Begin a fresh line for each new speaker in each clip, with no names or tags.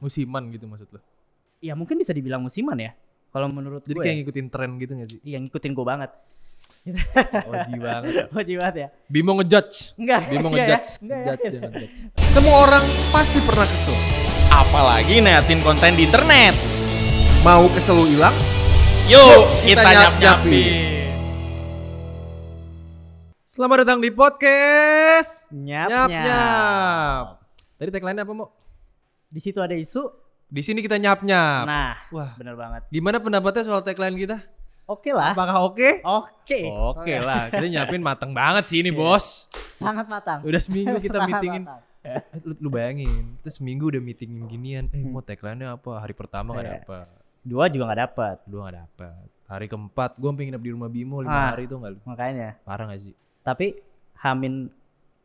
musiman gitu maksud lo
ya mungkin bisa dibilang musiman ya kalau menurut
jadi
gue
kayak
ya.
ngikutin tren gitu gak sih
Iya, ngikutin gue banget
oji banget
wajib banget ya
Bimo ngejudge
enggak
Bimo
enggak ya.
ngejudge
Enggak ya.
Judge, jangan judge
Semua orang pasti pernah kesel.
Apalagi neatin konten di internet.
Mau kesel lu hilang?
Yuk,
kita
kita nyap-nyapin.
nyap-nyapin.
selamat datang di podcast
nyap
nyap
nyap
nyap tadi tagline apa mau
di situ ada isu
di sini kita nyap nyap
nah
wah
bener banget
gimana pendapatnya soal tagline kita
oke lah
apakah oke
oke
Oke lah, kita nyiapin mateng banget sih ini
Iya.
bos.
sangat matang
Udah seminggu kita
Sangat
meetingin. Eh,
matang.
Lu, lu bayangin, kita seminggu udah meetingin ginian. Eh mau tagline-nya apa? Hari pertama gak
Hmm. Iya.
dapet,
dua juga nggak dapat
kedua gak dapet. Hari keempat, gue pengen nginep di rumah Bimo lima
Ah.
hari tuh gak lu.
makanya
Parah gak sih?
tapi hamin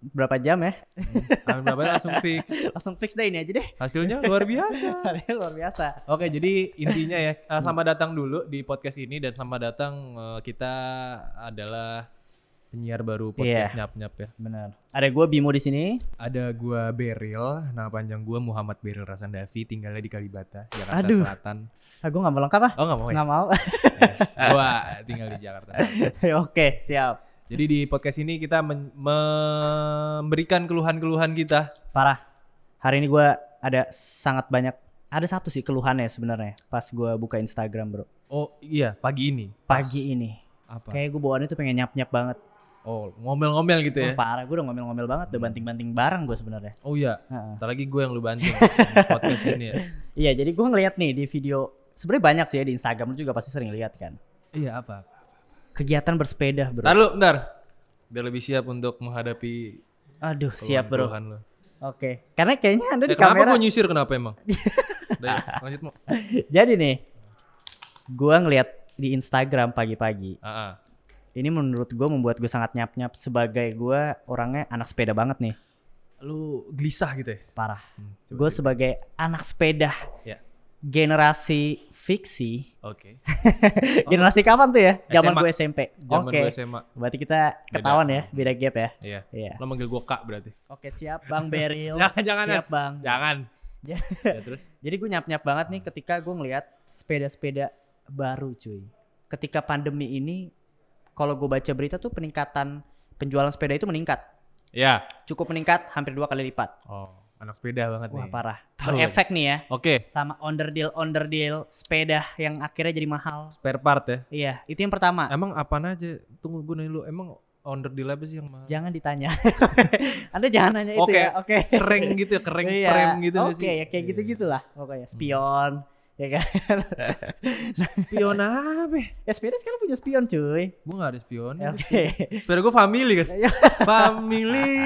berapa jam ya
Amin berapa langsung fix.
langsung fix deh ini aja deh
Hasilnya luar biasa.
luar biasa
Oke, jadi intinya ya, eh, selamat datang dulu di podcast ini dan selamat datang eh, kita adalah penyiar baru podcast nyap-nyap ya.
bener ada gue Bimo di sini
Ada gua Beril, nama panjang gua Muhammad Beril Rasandavi, tinggalnya di Kalibata, Jakarta
Aduh.
Selatan.
ah gue nggak mau lengkap ah
Oh nggak mau
iya.
ya?
nggak mau
gua tinggal di Jakarta. Selatan.
oke siap
Jadi di podcast ini kita men- memberikan keluhan-keluhan kita.
parah hari ini gue ada sangat banyak ada satu sih keluhannya sebenarnya pas gue buka Instagram bro
Oh iya, pagi ini.
pagi ini
Apa?
kayak gue bawaannya tuh pengen nyap nyap banget
Oh ngomel-ngomel gitu ya?
Wah, parah gue udah ngomel ngomel banget udah banting banting barang gue sebenarnya
Oh iya,
Heeh.
ntar lagi gue yang lu bantu di podcast ini ya.
iya jadi gue ngeliat nih di video sebenarnya banyak sih ya di Instagram lu juga pasti sering lihat kan
Iya apa?
kegiatan bersepeda bro
Ntar lu, ntar. Biar lebih siap untuk menghadapi
aduh siap bro oke
keluhan-keluhan lu.
karena kayaknya anda
Eh,
di
kenapa
kamera
gue nyisir kenapa emang? Udah ya, lanjut mau.
jadi nih gue ngeliat di Instagram pagi-pagi
Ah, ah.
ini menurut gue membuat gue sangat nyap nyap sebagai gue orangnya anak sepeda banget nih
Lu gelisah gitu ya?
parah
Hmm, coba
gue
deh.
sebagai anak sepeda
Ya.
generasi fiksi
Oke.
generasi kapan tuh ya zaman
SMA.
gue SMP
Zaman
oke
gue SMA.
berarti kita ketahuan ya beda gap ya
Iya.
iya Ya,
Lo manggil gue Kak berarti.
oke siap bang Beril
Jangan, jangan,
Oh, siap bang
Jangan.
Ya.
ya terus.
jadi gue nyap nyap banget nih ketika gue ngelihat sepeda sepeda baru cuy ketika pandemi ini kalau gue baca berita tuh peningkatan penjualan sepeda itu meningkat
Ya.
cukup meningkat hampir dua kali lipat
Oh, anak sepeda banget
wah
nih.
parah
Tahu
efek nih ya
Oke,
sama onder deal onder deal sepeda yang akhirnya jadi mahal
spare part ya.
Iya, itu yang pertama.
Emang apaan aja? Tunggu gue nanya lu, emang under di lab sih yang mahal?
Jangan ditanya. Anda jangan nanya itu
Oke.
ya. Oke.
Kereng gitu ya, kereng
Iya,
frame gitu
Oke,
nggak sih?
ya kayak
Iya.
gitu-gitulah pokoknya. Spion, ya kan.
Spion apa?
ya sepeda sekarang punya spion, cuy.
Gue gak ada spion.
Ya, Oke.
Sepeda gue family kan?
Iya.
family.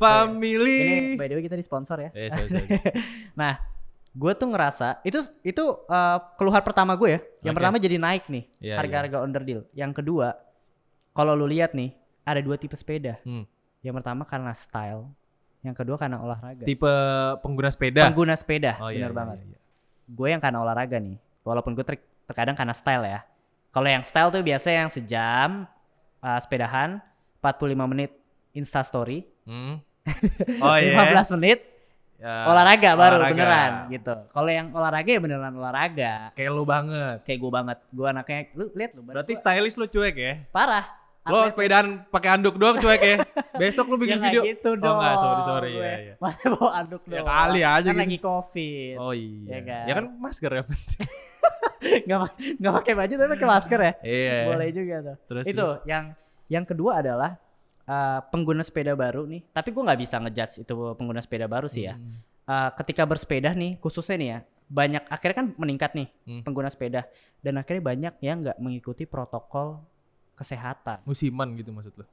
Family.
Ini by the way kita disponsor ya.
Eh, sorry, sorry.
Nah, gue tuh ngerasa itu itu eh, keluhan pertama gue ya. Yang
Oke.
pertama jadi naik nih
Iya,
harga-harga under deal. Yang kedua, kalau lu lihat nih ada dua tipe sepeda.
Hmm.
Yang pertama karena style, yang kedua karena olahraga.
Tipe pengguna sepeda.
Pengguna sepeda,
Oh, iya,
bener
iya,
banget.
iya, iya.
gue yang karena olahraga nih walaupun gue ter- terkadang karena style ya kalau yang style tuh biasa yang sejam uh, sepedahan 45 menit insta story
Hmm. Oh iya.
15 menit
Ya,
olahraga baru
olahraga.
beneran gitu kalau yang olahraga ya beneran olahraga
Kayak lu banget.
kayak gue banget gue anaknya lu lihat lu badan
Berarti
gua
stylist lu cuek ya?
parah
Lo
Atlet-
sepedaan pakai anduk doang cuek ya. Besok lu bikin
Ya nggak
video. Oh,
gitu dong
nggak, sorry, sorry,
gue.
ya, ya.
masa bawa anduk
Ya
doang
kali aja
kan
gitu.
lagi covid
Oh iya.
Ya kan?
Ya kan masker ya.
nggak pa- nggak pakai baju tapi pakai masker ya
Iya.
boleh juga tuh
Terus
itu yang yang kedua adalah uh, pengguna sepeda baru nih tapi gue nggak bisa ngejudge itu pengguna sepeda baru sih ya
Hmm.
Uh, ketika bersepeda nih khususnya nih ya banyak akhirnya kan meningkat nih
Hmm.
pengguna sepeda dan akhirnya banyak yang nggak mengikuti protokol kesehatan
Musiman gitu maksud lo.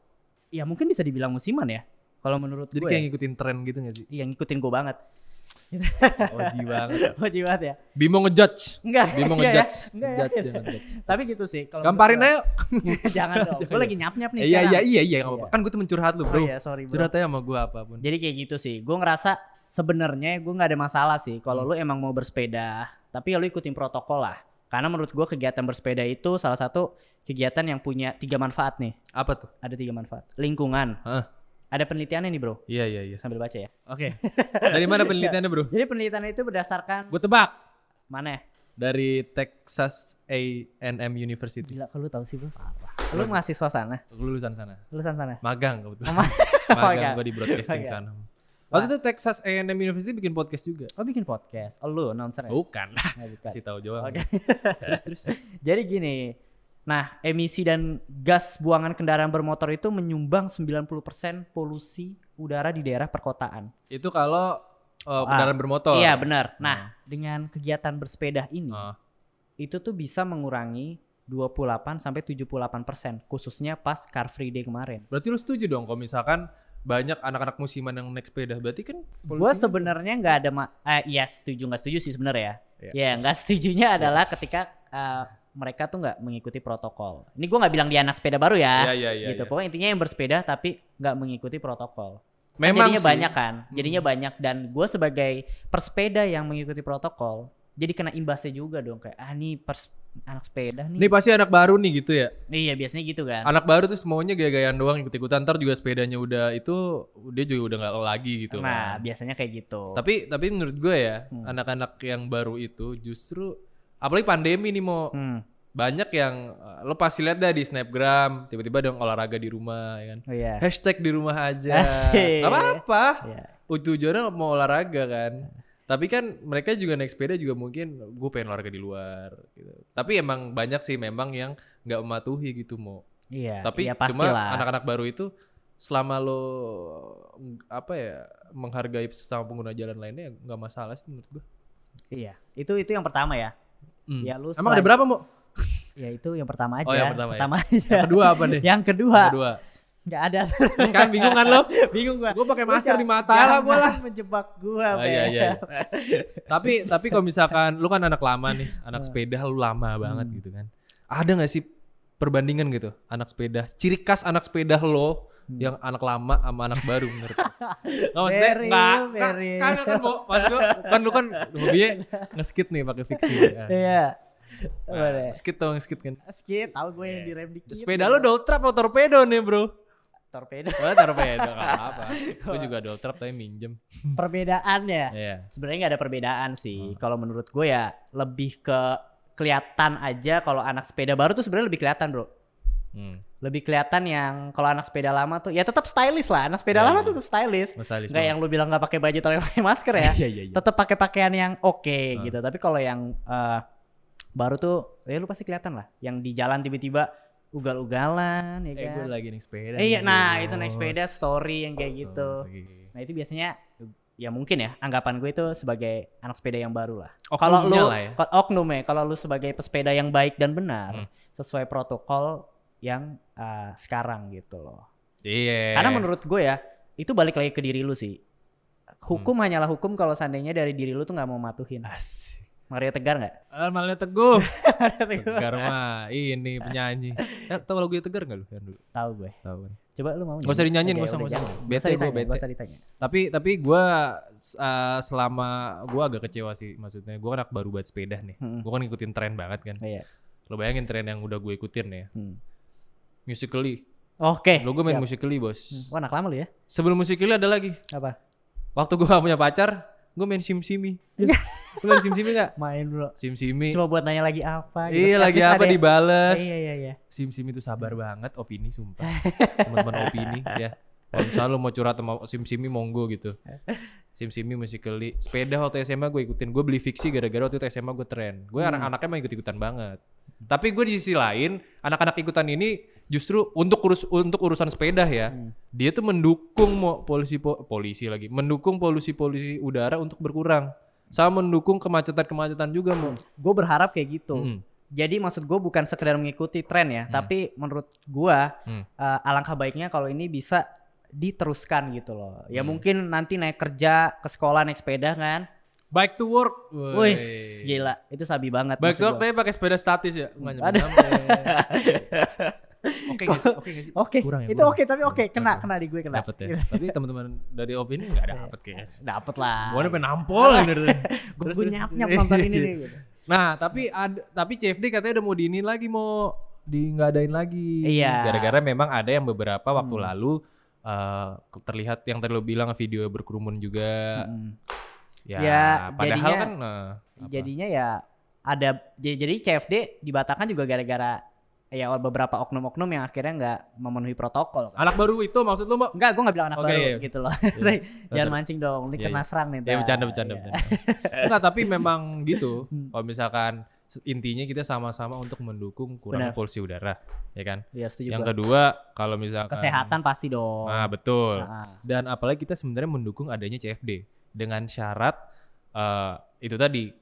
ya mungkin bisa dibilang musiman ya kalau menurut
Jadi
gue
kayak ngikutin tren gitu gak sih?
yang ngikutin gue banget
Oh, Oji banget.
wajib banget ya
Bimo ngejudge.
enggak
Bimo
enggak ya.
ngejudge.
Enggak ya.
Judge, jangan judge.
tapi gitu sih kalau
Gamparin
menurut
aja.
gue. jangan dong gue lagi nyap nyap nih
Eh, Iya iya
sekarang.
iya iya nggak apa-apa. Kan gue temen curhat lu,
oh
Bro.
iya sorry bro
Curhat aja sama gue apapun.
Jadi kayak gitu sih. Gue ngerasa sebenarnya gue nggak ada masalah sih kalau lu emang mau bersepeda, tapi ya lu ikutin protokol lah. Karena menurut gue kegiatan bersepeda itu salah satu kegiatan yang punya tiga manfaat nih.
Apa tuh?
Ada tiga manfaat. Lingkungan,
Heeh.
Ada penelitiannya nih bro,
Iya iya iya.
sambil baca ya.
Oke. Dari
Iya.
mana penelitiannya bro?
Jadi penelitian itu berdasarkan
Gue tebak
mana ya?
dari Texas A&M University.
Gila kalau lu tahu sih bro. Lu mahasiswa sana,
Lulusan sana.
lulusan sana.
Magang kebetulan.
Sama-
Magang
Oh, Magang.
gue di broadcasting
Magang.
sana. Waktu itu Texas A&M University bikin podcast juga.
Oh bikin podcast. Oh lu announcer ya?
Bukan.
Nah, bukan.
Kasih tahu doang.
Oke.
terus terus.
Jadi gini, nah emisi dan gas buangan kendaraan bermotor itu menyumbang 90% polusi udara di daerah perkotaan.
Itu kalau uh, kendaraan bermotor.
Iya benar. Nah dengan kegiatan bersepeda ini
Ah.
itu tuh bisa mengurangi 28 sampai 78 persen khususnya pas Car Free Day kemarin.
Berarti lu setuju dong kalau misalkan banyak anak-anak musiman yang naik sepeda. Berarti kan
Gue
polusinya-
sebenarnya nggak ada ma- eh, ya setuju nggak setuju sih sebenarnya
Iya.
ya. Ya nggak setujunya adalah ketika eh, mereka tuh nggak mengikuti protokol. Ini gue nggak bilang dia anak sepeda baru
Iya
ya.
iya iya. iya.
gitu. Pokoknya intinya yang bersepeda tapi nggak mengikuti protokol. Kan
Memang
jadinya
sih.
banyak kan, jadinya banyak dan gue sebagai persepeda yang mengikuti protokol, jadi kena imbasnya juga dong kayak ah nih pers anak sepeda
Ini
nih.
pasti anak baru nih Ah, gitu ya.
Iya biasanya gitu kan.
Anak baru tuh semuanya gaya-gayaan doang ikut-ikutan. Ntar juga sepedanya udah itu dia juga udah nggak lagi gitu. kan.
nah biasanya kayak gitu.
Tapi tapi menurut gue ya
Hmm.
anak-anak yang baru itu justru apalagi pandemi nih mau
Hmm.
banyak yang eh, lo pasti lihat dah di snapgram tiba-tiba ada yang olahraga di rumah ya kan.
Oh iya.
Hashtag di rumah aja.
Asik.
Gak apa-apa.
Iya.
Oh, Tujuannya mau olahraga kan. Tapi kan mereka juga naik sepeda juga mungkin gue pengen olahraga di luar. Gitu. Tapi emang banyak sih memang yang nggak mematuhi gitu mau.
Iya.
Tapi
iya,
cuma
pastilah.
anak-anak baru itu selama lo mm, apa ya menghargai sesama pengguna jalan lainnya ya nggak masalah sih menurut gua.
Iya. Itu itu yang pertama ya.
Hmm.
Ya, lu
Emang ada
selain-
berapa mau?
Ya itu yang pertama aja.
Oh, yang pertama ya.
aja.
Yang kedua apa nih?
Yang kedua
Yang kedua.
nggak ada.
Hmm, kan bingung kan lo?
Bingung gua.
Gue pakai
Lu
masker
jangan-
di mata lah gue lah.
jangan Menjebak gua.
Oh, iya,
Bel.
iya. tapi tapi kalau misalkan lu kan anak lama nih,
Iya.
anak sepeda lu lama banget
Hmm.
gitu kan. Ada nggak sih perbandingan gitu anak sepeda? Ciri khas anak sepeda lo
Hmm.
yang anak lama sama anak baru menurut lu? Nggak maksudnya
Very,
nggak
very.
ka- kagak kan mau maksud gua, kan lu kan hobinya nge-skit nih pakai fiksi. ya.
Iya.
Nah,
Boleh. Iya,
skit dong skit kan.
Skit, tahu gue
Iya.
yang direm dikit.
Sepeda lu double trap atau torpedo nih bro?
torpedo.
Gue torpedo nggak apa-apa. Gue juga double trap tapi minjem.
Perbedaannya.
Iya.
ya. Sebenarnya nggak ada perbedaan
Hmm.
sih. Kalau menurut gue ya lebih ke kelihatan aja kalau anak sepeda baru tuh sebenarnya lebih kelihatan, Bro.
Hmm.
Lebih kelihatan yang kalau anak sepeda lama tuh ya tetap stylish lah. Anak sepeda
Iya,
lama
iya.
tuh tetap stylish.
Masalah
Enggak yang lu bilang nggak pakai baju tapi pakai masker ya.
Iya iya iya.
tetap pakai pakaian yang oke
Hmm.
gitu. Tapi kalau yang eh, baru tuh ya lu pasti kelihatan lah. Yang di jalan tiba-tiba ugal-ugalan ya
Eh gue
kan.
lagi naik sepeda.
Eh, iya,
nih, bos.
nah itu naik sepeda story yang kayak gitu.
Story.
Nah itu biasanya ya mungkin ya anggapan gue itu sebagai anak sepeda yang baru lah.
Oknumnya
Kalau Oh, lu
lah ya.
ko- oknum ya, kalau lu sebagai pesepeda yang baik dan benar
Hmm.
sesuai protokol yang uh, sekarang gitu loh.
Iya.
Karena menurut gue ya itu balik lagi ke diri lu sih. Hukum
Hmm.
hanyalah hukum kalau seandainya dari diri lu tuh nggak mau matuhin.
Asik.
Mario tegar nggak?
Almalnya Eh, teguh.
Mario Tegar.
Tegar mah ini penyanyi. Eh, tahu lagu tegar gak lu? Yang dulu.
Tahu gue.
Tahu kan.
Coba lu mau?
Gak usah dinyanyiin, gak usah, gak usah.
Biasa
Bete gue,
ditanya,
bete.
nggak usah ditanya.
Tapi tapi gue selama gue agak kecewa sih maksudnya. Gue anak baru buat sepeda nih.
Mm-mm.
Gue kan ngikutin tren banget kan.
Hmm. Iya.
Lo bayangin tren yang udah gue ikutin ya.
Hmm.
Musically.
Oke.
Lo gue main
siap.
musically
Hmm,
bos.
Wah, anak lama lu ya?
Sebelum musically ada lagi.
Apa?
Waktu gue gak punya pacar, gue main simsimi. Lo main simsimi gak?
Main bro.
Simsimi.
Iya. Cuma buat nanya lagi apa? gitu.
Iya
At
lagi
least
apa
ada yang-
dibales.
Iya iya iya.
Sim Sim itu sabar banget opini sumpah. Teman-teman opini ya. Kalau misalnya lu mau curhat sama Sim Simi monggo gitu. Sim Simi musically. Sepeda waktu SMA gue ikutin. Gue beli fiksi gara-gara waktu itu SMA gue tren. Gue
Hmm.
anak-anaknya mah ikut-ikutan banget. Tapi gue di sisi lain, anak-anak ikutan ini justru untuk urus untuk urusan sepeda ya.
Hmm.
Dia tuh mendukung mau polisi po- polisi lagi, mendukung polusi-polusi udara untuk berkurang. Sama mendukung kemacetan-kemacetan juga mau.
Gue berharap kayak gitu.
Mm.
Jadi maksud gue bukan sekedar mengikuti tren ya, tapi menurut gue
Hmm.
eh, alangkah baiknya kalau ini bisa diteruskan gitu loh. Ya
Hmm.
mungkin nanti naik kerja ke sekolah naik sepeda kan.
Bike to work. Woi.
Wih, gila. Itu sabi banget.
Baik
maksud
dok,
gua.
tapi pakai sepeda statis ya? Nggak nyampe
Ada.
Oke nggak sih? Oke nggak sih?
Oke,
Kurang ya,
itu
kurang.
oke tapi oke kena kena di gue kena.
Dapet ya. Tapi teman-teman dari Ovin nggak dapet kayaknya.
Dapet lah.
Gue udah Iya. pengen nampol bener
Gue gue nyap nyap nonton ini nih. gitu.
Nah, tapi ada, tapi CFD katanya udah mau diinin lagi, mau di nggak adain lagi.
Iya. Hmm.
Gara-gara memang ada yang beberapa waktu lalu eh, terlihat yang tadi lo bilang video berkerumun juga.
Mm-mm.
Ya,
Ya,
padahal
jadinya-
kan eh, apa?
Jadinya ya ada j- jadi CFD dibatalkan juga gara-gara ya beberapa oknum-oknum yang akhirnya nggak memenuhi protokol. kan.
anak baru itu maksud lo, Mbak?
Enggak, gue nggak bilang anak
Oke,
baru
iya.
gitu loh.
Iya.
Jangan mancing dong, ini
Iya,
kena serang nih.
Ya
ntar.
bercanda bercanda
Iya.
bercanda. Enggak, tapi memang gitu.
Hmm.
Kalau misalkan se- intinya kita sama-sama untuk mendukung kurang
Benar.
polusi udara, ya kan?
Iya setuju
Yang
gua.
kedua, kalau misalkan
Kesehatan pasti dong.
Nah, betul.
Ah,
Dan apalagi kita sebenarnya mendukung adanya CFD dengan syarat eh, itu tadi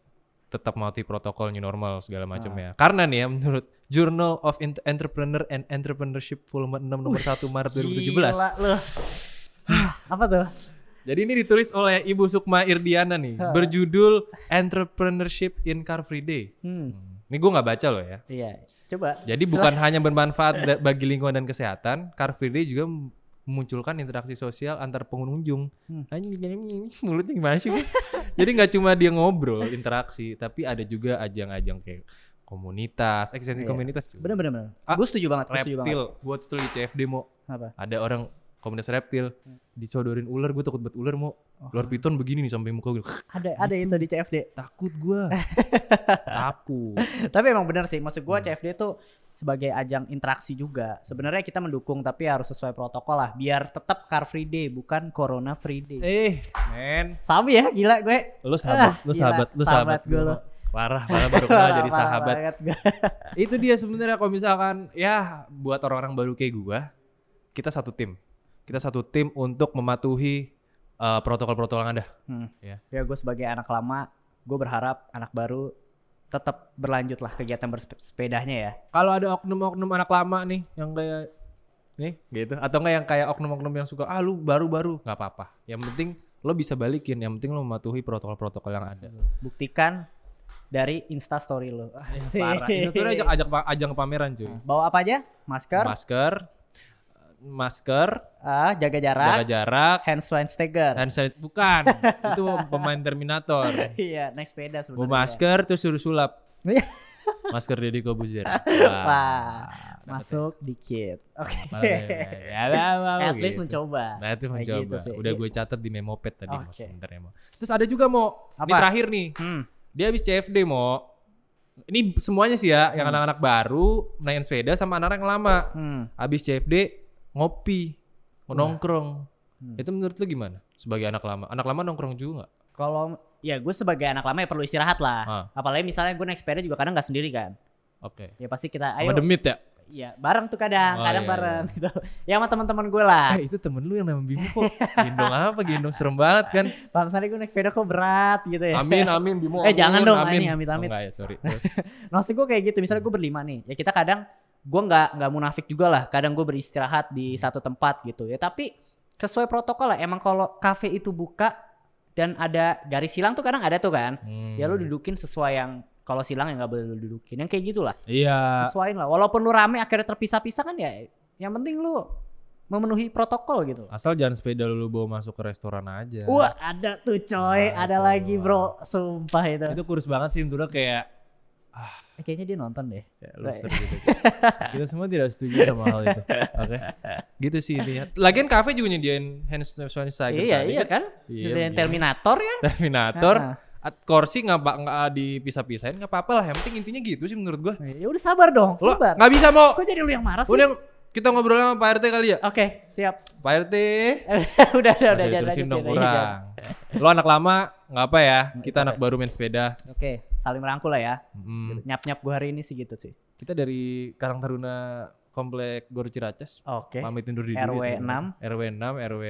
tetap mati protokol new normal segala macamnya. Karena nih ya menurut Journal of Ent- Entrepreneur and Entrepreneurship volume 6 nomor 1 Maret 2017.
Gila lu. Hah, Apa tuh?
Jadi ini ditulis oleh Ibu Sukma Irdiana nih
Ha.
berjudul Entrepreneurship in Car Free Day.
Hmm,
Ini gue nggak baca loh ya.
iya. Coba.
Jadi bukan hanya bermanfaat da- bagi lingkungan dan kesehatan, Car Free Day juga mem- memunculkan interaksi sosial antar pengunjung.
Hmm.
Anjing, gini, gini, gini, mulutnya gimana sih? Bu? Jadi nggak cuma dia ngobrol, interaksi, tapi ada juga ajang-ajang kayak komunitas, eksistensi
Iya.
komunitas.
Bener bener bener.
Ah,
gue setuju banget. Gue setuju banget.
Reptil, buat tuh di CFD mau
Apa?
ada orang komunitas reptil
Hmm.
dicodorin ular, gue takut buat ular mau.
Oh.
Ular piton begini nih sampai muka gue
Ada ada itu di CFD.
takut gue, takut.
tapi emang bener sih. Maksud gue
Hmm.
CFD itu sebagai ajang interaksi juga. Sebenarnya kita mendukung tapi harus sesuai protokol lah. Biar tetap Car Free Day bukan Corona Free Day.
Eh, men.
Sama ya, gila gue.
lu sahabat,
Ah,
lu
gila,
sahabat, lu sahabat,
sahabat gua
gua.
lu.
Parah, malah baru kenal jadi
Parah
sahabat.
banget gua.
Itu dia sebenarnya kalau misalkan ya buat orang-orang baru kayak gua, kita satu tim. Kita satu tim untuk mematuhi eh, protokol-protokol yang ada.
Hmm.
Ya.
Ya gue sebagai anak lama, gue berharap anak baru tetap berlanjut lah kegiatan bersepedanya ya.
Kalau ada oknum-oknum anak lama nih yang kayak nih gitu atau enggak yang kayak oknum-oknum yang suka ah lu baru-baru nggak apa-apa. Yang penting lo bisa balikin, yang penting lo mematuhi protokol-protokol yang ada.
Buktikan dari Insta Story lo.
Parah. Itu sebenarnya ajak, ajak ajang pameran cuy.
Bawa apa aja? Masker,
Masker, masker,
ah, jaga jarak,
jaga jarak, Eh.
hand sanitizer.
hand sanit- bukan itu pemain Terminator
Iya, naik sepeda
mau
sebenarnya.
masker terus suruh sulap
Iya.
masker Deddy Kobuzier
Wah, masuk dikit. Oke.
ya lah, lah,
At
gitu.
least mencoba.
nah itu
Kayak
mencoba
gitu sih.
udah gue catat di memoped tadi mau
Oke.
sebentar mau terus ada juga mau ini
Apa?
terakhir nih
Hmm.
dia habis CFD mau ini semuanya sih ya yang anak-anak baru naik sepeda sama anak-anak yang lama
Hmm.
habis CFD ngopi nongkrong
Iya. Hmm.
itu menurut lu gimana sebagai anak lama anak lama nongkrong juga nggak?
Kalau ya gue sebagai anak lama ya perlu istirahat
Ah.
lah. Apalagi misalnya gue naik sepeda juga kadang nggak sendiri kan.
oke
Ya pasti kita
sama
ayo
demit ya
Iya, bareng tuh
Oh,
kadang, kadang
iya,
bareng gitu. Ya sama teman-teman gue lah.
Eh itu temen lu yang nama Bimu kok gendong apa gendong serem banget kan
Bang Sari gue naik sepeda kok berat gitu ya.
Amin amin Bimo
Eh, jangan
amin,
dong, anjing, amit-amit.
Oh, enggak ya sorry
Maksud gue kayak gitu, misalnya gue berlima nih. Ya kita kadang gue nggak nggak munafik juga lah. Kadang gue beristirahat di satu tempat gitu ya. Tapi sesuai protokol lah. Emang kalau kafe itu buka dan ada garis silang tuh kadang ada tuh kan.
Hmm.
Ya lu dudukin sesuai yang kalau silang ya nggak boleh lu dudukin. Yang kayak gitulah.
Iya
Sesuaiin lah. Walaupun lu rame akhirnya terpisah-pisah kan ya. Yang penting lu memenuhi protokol gitu.
Asal jangan sepeda lu bawa masuk ke restoran aja
Wah ada tuh coy,
Nah,
ada
itu.
lagi bro, sumpah itu.
Itu kurus banget sih menurut kayak
Eh, Kayaknya dia nonton deh.
kayak loser gitu Kita semua tidak setuju sama hal itu Oke Gitu sih intinya Lagian kafe juga nyediain hand sanitizer
iya
tadi
iya kan,
Iya,
Dari
begini.
Terminator ya.
Terminator
Ah.
at- Kursi nggak ba- nggak dipisah-pisahin nggak apa-apa lah yang penting intinya gitu sih menurut gua
Ya udah sabar dong,
Lo
sabar.
nggak bisa mau
Kok jadi lu yang marah sih? Oke,
Udah kita ngobrol sama Pak RT kali ya
siap.
Pak RT
udah udah udah
Masih
jangan
diterusin
lanjutin,
dong
iya,
kurang.
jangan.
Lo anak lama nggak apa ya? Kita anak baru main sepeda.
Oke, saling merangkul lah ya.
Mm.
Nyap-nyap gue hari ini sih gitu sih.
Kita dari Karang Taruna Komplek Gor Ciracas.
Oke.
Pamit undur diri.
RW
terima kasih.
6.
RW 6, RW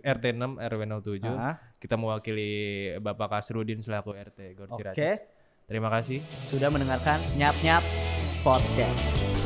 07, RT 6, RW 07.
Ah,
Kita mewakili Bapak Kasrudin selaku RT Gor
Oke.
Ciracas. Terima kasih.
Sudah mendengarkan nyap-nyap podcast.